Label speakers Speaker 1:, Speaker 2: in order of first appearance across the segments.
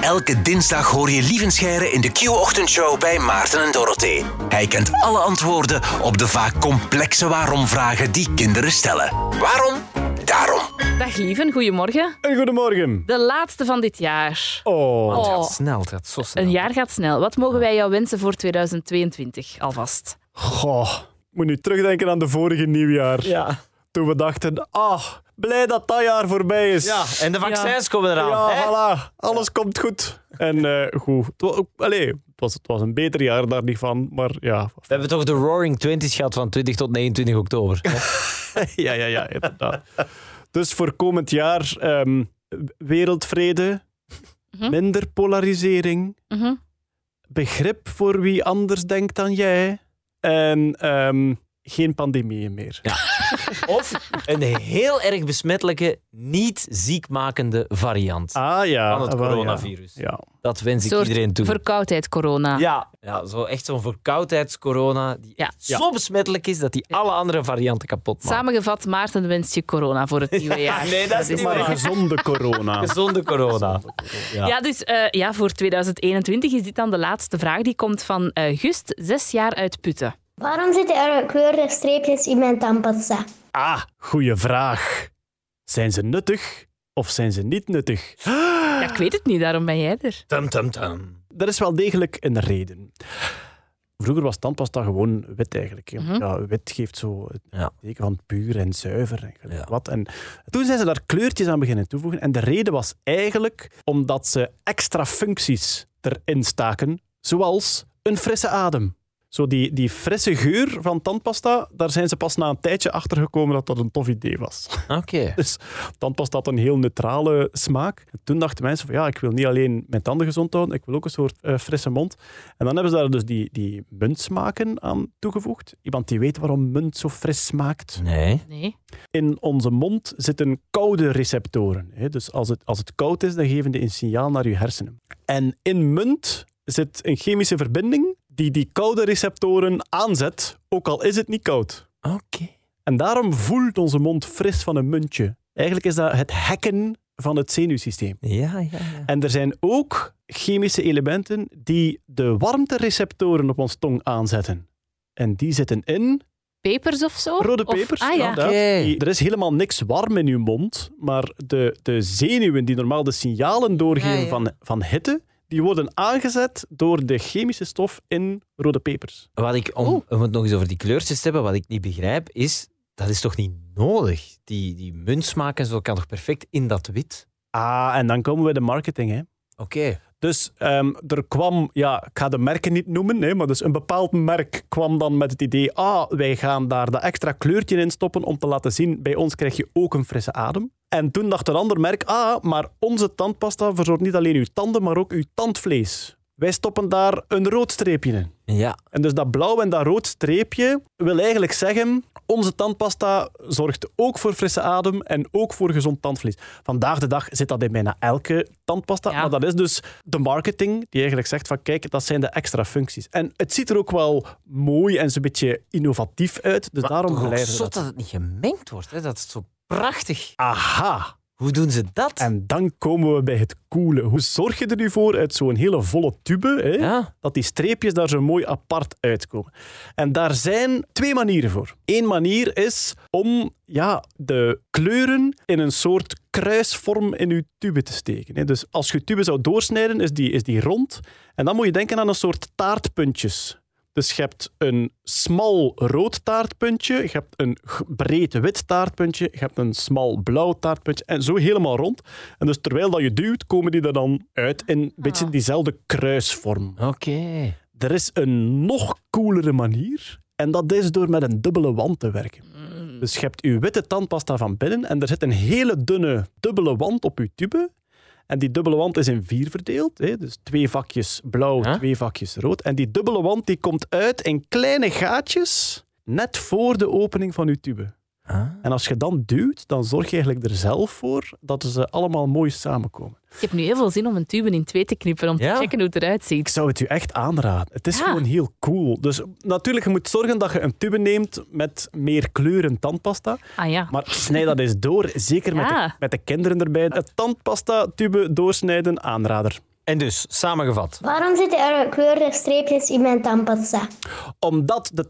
Speaker 1: Elke dinsdag hoor je Lievenscheire in de Q-ochtendshow bij Maarten en Dorothee. Hij kent alle antwoorden op de vaak complexe waarom-vragen die kinderen stellen. Waarom? Daarom.
Speaker 2: Dag lieven, goedemorgen.
Speaker 3: En goedemorgen.
Speaker 2: De laatste van dit jaar.
Speaker 3: Oh.
Speaker 4: Het
Speaker 2: Oh.
Speaker 4: gaat snel, het gaat zo snel.
Speaker 2: Een jaar gaat snel. Wat mogen wij jou wensen voor 2022 alvast?
Speaker 3: Goh. Moet nu terugdenken aan de vorige nieuwjaar.
Speaker 4: Ja.
Speaker 3: Toen we dachten, ah, blij dat dat jaar voorbij is.
Speaker 4: ja, en de vaccins komen eraan.
Speaker 3: Ja,
Speaker 4: hè?
Speaker 3: voilà. Alles komt goed. En eh, goed. Het was, allee, het, was, het was een beter jaar daar niet van, maar ja.
Speaker 4: We hebben toch de Roaring Twenties gehad van 20 tot 29 oktober.
Speaker 3: ja, ja, ja, inderdaad. dus voor komend jaar ehm, wereldvrede,
Speaker 2: Mhm.
Speaker 3: minder polarisering,
Speaker 2: Mhm.
Speaker 3: begrip voor wie anders denkt dan jij en ehm, geen pandemieën meer.
Speaker 4: of een heel erg besmettelijke, niet ziekmakende variant
Speaker 3: Ah ja.
Speaker 4: van het
Speaker 3: ah, wel, ja.
Speaker 4: coronavirus.
Speaker 3: Ja.
Speaker 4: Dat wens ik
Speaker 2: Soort
Speaker 4: iedereen toe.
Speaker 2: Verkoudheid, corona.
Speaker 4: Ja, ja zo echt zo'n verkoudheidscorona die
Speaker 2: Ja.
Speaker 4: echt zo besmettelijk is dat die alle andere varianten kapot maakt.
Speaker 2: Samengevat, Maarten wenst je corona voor het nieuwe jaar.
Speaker 4: nee, dat is niet
Speaker 3: Maar
Speaker 4: waar.
Speaker 3: gezonde corona.
Speaker 4: Gezonde corona. Ja.
Speaker 2: Ja, dus eh, ja, voor 2021 is dit dan de laatste vraag. Die komt van eh Gust, zes jaar uit Putten.
Speaker 5: Waarom zitten er kleurige streepjes in mijn tandpasta?
Speaker 3: Ah, goede vraag. Zijn ze nuttig of zijn ze niet nuttig?
Speaker 2: Ja, ik weet het niet, daarom ben jij er.
Speaker 4: Tum, tum, tum.
Speaker 3: Er is wel degelijk een reden. Vroeger was tandpasta gewoon wit eigenlijk. hè.
Speaker 2: Mhm.
Speaker 3: ja, wit geeft zo het
Speaker 4: Ja.
Speaker 3: teken van puur en zuiver en gelijk
Speaker 4: Ja.
Speaker 3: wat. En toen zijn ze daar kleurtjes aan beginnen toevoegen. En de reden was eigenlijk omdat ze extra functies erin staken, zoals een frisse adem. Zo die, die frisse geur van tandpasta, daar zijn ze pas na een tijdje achter gekomen dat dat een tof idee was.
Speaker 4: Oké.
Speaker 3: Dus tandpasta had een heel neutrale smaak. En toen dachten mensen van ja, ik wil niet alleen mijn tanden gezond houden, ik wil ook een soort eh, frisse mond. En dan hebben ze daar dus die, die muntsmaken aan toegevoegd. Iemand die weet waarom munt zo fris smaakt.
Speaker 4: Nee.
Speaker 2: Nee.
Speaker 3: In onze mond zitten koude receptoren. Hè? Dus als het, als het koud is, dan geven die een signaal naar je hersenen. En in munt zit een chemische verbinding die die koude receptoren aanzet, ook al is het niet koud.
Speaker 4: Oké.
Speaker 3: En daarom voelt onze mond fris van een muntje. Eigenlijk is dat het hacken van het zenuwsysteem.
Speaker 4: Ja, ja, ja.
Speaker 3: En er zijn ook chemische elementen die de warmtereceptoren op ons tong aanzetten. En die zitten in
Speaker 2: Pepers of zo?
Speaker 3: rode
Speaker 2: Of-
Speaker 3: pepers.
Speaker 2: ah ja.
Speaker 3: inderdaad.
Speaker 4: Oké.
Speaker 3: Die- Er is helemaal niks warm in uw mond, maar de, de zenuwen die normaal de signalen doorgeven
Speaker 4: Ah, Ja, ja.
Speaker 3: Van, van hitte, die worden aangezet door de chemische stof in rode pepers.
Speaker 4: Wat ik, om, om het nog eens over die kleurtjes te hebben, wat ik niet begrijp, is dat is toch niet nodig? Die, die muntsmaak en zo kan toch perfect in dat wit?
Speaker 3: Ah, en dan komen we bij de marketing, hè.
Speaker 4: Oké.
Speaker 3: Dus ehm, er kwam, ja, ik ga de merken niet noemen, hè, maar dus een bepaald merk kwam dan met het idee, ah, wij gaan daar dat extra kleurtje in stoppen om te laten zien, bij ons krijg je ook een frisse adem. En toen dacht een ander merk, ah, maar onze tandpasta verzorgt niet alleen uw tanden, maar ook uw tandvlees. Wij stoppen daar een rood streepje in.
Speaker 4: Ja.
Speaker 3: En dus dat blauw en dat rood streepje wil eigenlijk zeggen, onze tandpasta zorgt ook voor frisse adem en ook voor gezond tandvlees. Vandaag de dag zit dat in bijna elke tandpasta,
Speaker 2: Ja.
Speaker 3: maar dat is dus de marketing die eigenlijk zegt van kijk, dat zijn de extra functies. En het ziet er ook wel mooi en zo'n beetje innovatief uit, dus daarom
Speaker 4: Toch ook
Speaker 3: blijven we
Speaker 4: zot
Speaker 3: dat.
Speaker 4: dat het niet gemengd wordt. Hè? Dat is zo prachtig.
Speaker 3: Aha!
Speaker 4: Hoe doen ze dat?
Speaker 3: En dan komen we bij het coole. Hoe zorg je er nu voor uit zo'n hele volle tube, hè,
Speaker 4: Ja.
Speaker 3: dat die streepjes daar zo mooi apart uitkomen. En daar zijn twee manieren voor. Eén manier is om ja, de kleuren in een soort kruisvorm in je tube te steken. hè. Dus als je tube zou doorsnijden, is die, is die rond. En dan moet je denken aan een soort taartpuntjes. Dus je hebt een smal rood taartpuntje, je hebt een g- breed wit taartpuntje, je hebt een smal blauw taartpuntje en zo helemaal rond. En dus terwijl dat je duwt, komen die er dan uit in een beetje diezelfde kruisvorm.
Speaker 4: Oké.
Speaker 3: Er is een nog coolere manier. En dat is door met een dubbele wand te werken.
Speaker 4: Mm.
Speaker 3: Dus je hebt je witte tandpasta van binnen en er zit een hele dunne dubbele wand op je tube. En die dubbele wand is in vier verdeeld. Hè? Dus twee vakjes blauw,
Speaker 4: Ja.
Speaker 3: twee vakjes rood. En die dubbele wand die komt uit in kleine gaatjes net voor de opening van je tube.
Speaker 4: Ah.
Speaker 3: En als je dan duwt, dan zorg je eigenlijk er zelf voor dat ze allemaal mooi samenkomen.
Speaker 2: Ik heb nu heel veel zin om een tube in twee te knippen om
Speaker 4: Ja.
Speaker 2: te checken hoe het eruit ziet.
Speaker 3: Ik zou het u echt aanraden. Het is
Speaker 2: Ja.
Speaker 3: gewoon heel cool. Dus natuurlijk, je moet zorgen dat je een tube neemt met meer kleuren tandpasta.
Speaker 2: Ah ja.
Speaker 3: Maar snij dat eens door, zeker met,
Speaker 2: Ja.
Speaker 3: de, met de kinderen erbij. Het tandpasta-tube doorsnijden, aanrader.
Speaker 4: En dus, samengevat.
Speaker 5: Waarom zitten er kleurige streepjes in mijn tandpasta?
Speaker 3: Omdat de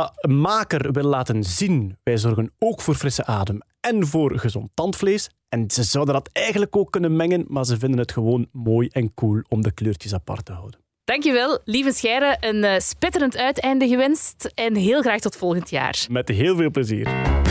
Speaker 3: tandpasta-maker wil laten zien, wij zorgen ook voor frisse adem en voor gezond tandvlees. En ze zouden dat eigenlijk ook kunnen mengen, maar ze vinden het gewoon mooi en cool om de kleurtjes apart te houden.
Speaker 2: Dankjewel, lieve Scheire. Een eh, spetterend uiteinde gewenst. En heel graag tot volgend jaar.
Speaker 3: Met heel veel plezier.